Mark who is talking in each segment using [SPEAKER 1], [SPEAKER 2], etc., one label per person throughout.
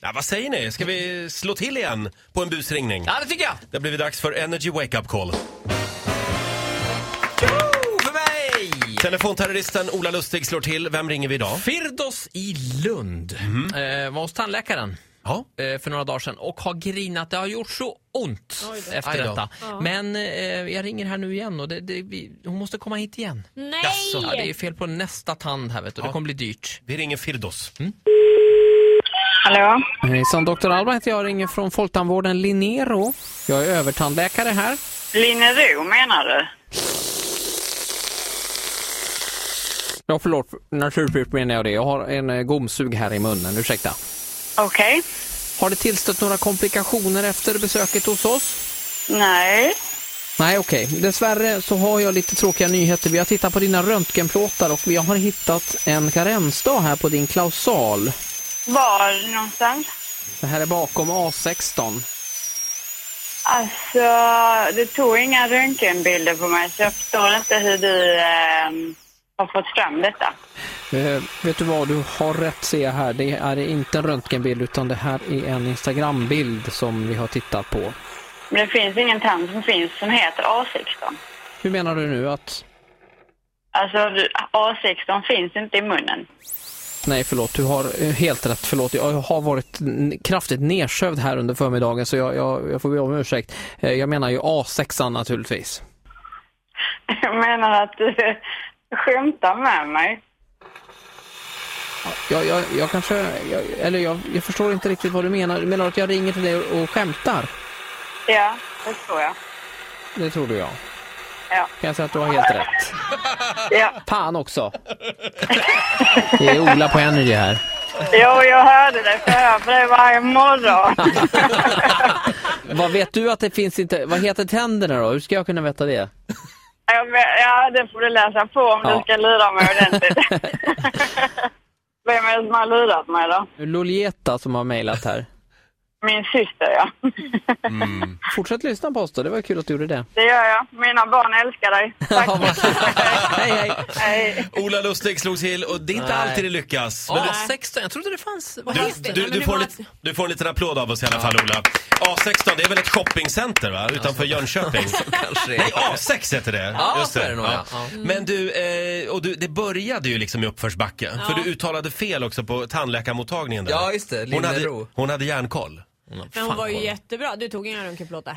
[SPEAKER 1] Ja, vad säger ni? Ska vi slå till igen på en busringning?
[SPEAKER 2] Ja, det tycker jag!
[SPEAKER 1] Det har blivit dags för Energy Wake Up Call.
[SPEAKER 2] Tjo för mig!
[SPEAKER 1] Telefonterroristen Ola Lustig slår till. Vem ringer vi idag?
[SPEAKER 2] Firdos i Lund
[SPEAKER 1] Mhm.
[SPEAKER 2] eh, var hos tandläkaren
[SPEAKER 1] Ja.
[SPEAKER 2] eh, för några dagar sedan och har grinat. Det har gjort så ont efter
[SPEAKER 1] Aj då.
[SPEAKER 2] detta. Men eh, jag ringer här nu igen och det, det, vi, hon måste komma hit igen.
[SPEAKER 3] Nej!
[SPEAKER 1] Jaså.
[SPEAKER 2] Ja, det är ju fel på nästa tand här vet du. Det kommer bli dyrt.
[SPEAKER 1] Vi ringer Firdos.
[SPEAKER 2] Mm.
[SPEAKER 4] Hallå?
[SPEAKER 2] Hejsan, doktor Alba heter jag ringer från Folktandvården Linero. Jag är övertandläkare här.
[SPEAKER 4] Linero menar du?
[SPEAKER 2] Ja, förlåt. Naturligtvis menar jag det. Jag har en eh, gomsug här i munnen, ursäkta.
[SPEAKER 4] Okej.
[SPEAKER 2] Har det tillstött några komplikationer efter besöket hos oss?
[SPEAKER 4] Nej.
[SPEAKER 2] Nej, okej. Dessvärre så har jag lite tråkiga nyheter. Vi har tittat på dina röntgenplåtar och vi har hittat en karensdag här på din klausal.
[SPEAKER 4] Var någonstans?
[SPEAKER 2] Det här är bakom A16.
[SPEAKER 4] Alltså, du tog inga röntgenbilder på mig så jag förstår inte hur du ehm, har fått fram detta.
[SPEAKER 2] Eh, vet du vad, du har rätt ser jag här. Det är inte en röntgenbild utan det här är en Instagrambild som vi har tittat på.
[SPEAKER 4] Men det finns ingen tand som finns som heter A16.
[SPEAKER 2] Hur menar du nu att...
[SPEAKER 4] Alltså, du- A16 finns inte i munnen.
[SPEAKER 2] Nej, förlåt. Du har eh, helt rätt. Förlåt. Jag har varit n- kraftigt nedsövd här under förmiddagen så jag, jag, jag får be om ursäkt. Eh, Jag menar ju A6 naturligtvis.
[SPEAKER 4] Jag menar att du skämtar med mig.
[SPEAKER 2] Jag, jag, jag kanske, jag, eller jag, jag förstår inte riktigt vad du menar. Menar du att jag ringer till dig och, och skämtar?
[SPEAKER 4] Ja, det tror jag.
[SPEAKER 2] Det tror du jag.
[SPEAKER 4] Ja.
[SPEAKER 2] Kan jag säga att du har helt rätt.
[SPEAKER 4] ja.
[SPEAKER 2] Fan också! Det är Ola på Energy här.
[SPEAKER 4] Jo, jag hörde det för jag hör på dig varje morgon.
[SPEAKER 2] Vad vet du att det finns inte, vad heter tänderna då? Hur ska jag kunna veta det?
[SPEAKER 4] Ja, men, ja, det får du läsa på om
[SPEAKER 2] Ja.
[SPEAKER 4] du ska lura mig ordentligt. Vem är det som har lurat mig då?
[SPEAKER 2] Lolieta som har mejlat här.
[SPEAKER 4] Min syster, ja.
[SPEAKER 2] Mm. Fortsätt lyssna på oss då, det var kul att du gjorde det.
[SPEAKER 4] Det gör jag. Mina barn älskar dig. Tack.
[SPEAKER 2] Ja, vad kul. hej hej!
[SPEAKER 4] Hej.
[SPEAKER 1] Ola Lustig slog till och det är inte
[SPEAKER 2] Nej.
[SPEAKER 1] alltid det lyckas. Men du-
[SPEAKER 2] 16, jag trodde det fanns. Vad
[SPEAKER 1] du, du, du, får en, lit- du får en liten applåd av oss i alla fall Ola. A16 det är väl ett shoppingcenter va? Utanför Jönköping.
[SPEAKER 2] kanske
[SPEAKER 1] Nej, A6 heter det. Mm.
[SPEAKER 2] Ja, så är det nog, ja. Ja.
[SPEAKER 1] Men du, eh, och du, det började ju liksom i uppförsbacke. För du uttalade fel också på tandläkarmottagningen där.
[SPEAKER 2] Ja, just det.
[SPEAKER 1] hon, hade,
[SPEAKER 2] Linnero.
[SPEAKER 1] hon hade järnkoll.
[SPEAKER 3] Men hon var ju jättebra. Du tog inga röntgenplåtar.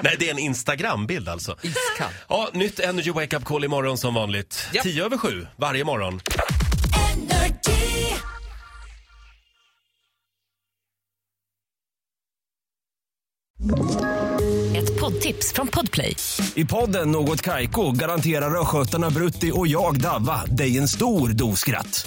[SPEAKER 1] Nej, det är en Instagram-bild alltså.
[SPEAKER 2] Iskall.
[SPEAKER 1] Ja, nytt Energy Wake Up Call imorgon som vanligt.
[SPEAKER 2] Japp.
[SPEAKER 1] 10 över 7 varje morgon.
[SPEAKER 5] Ett poddtips från Podplay.
[SPEAKER 6] I podden Något Kaiko garanterar östgötarna Brutti och jag, Davva, dig en stor dos skratt.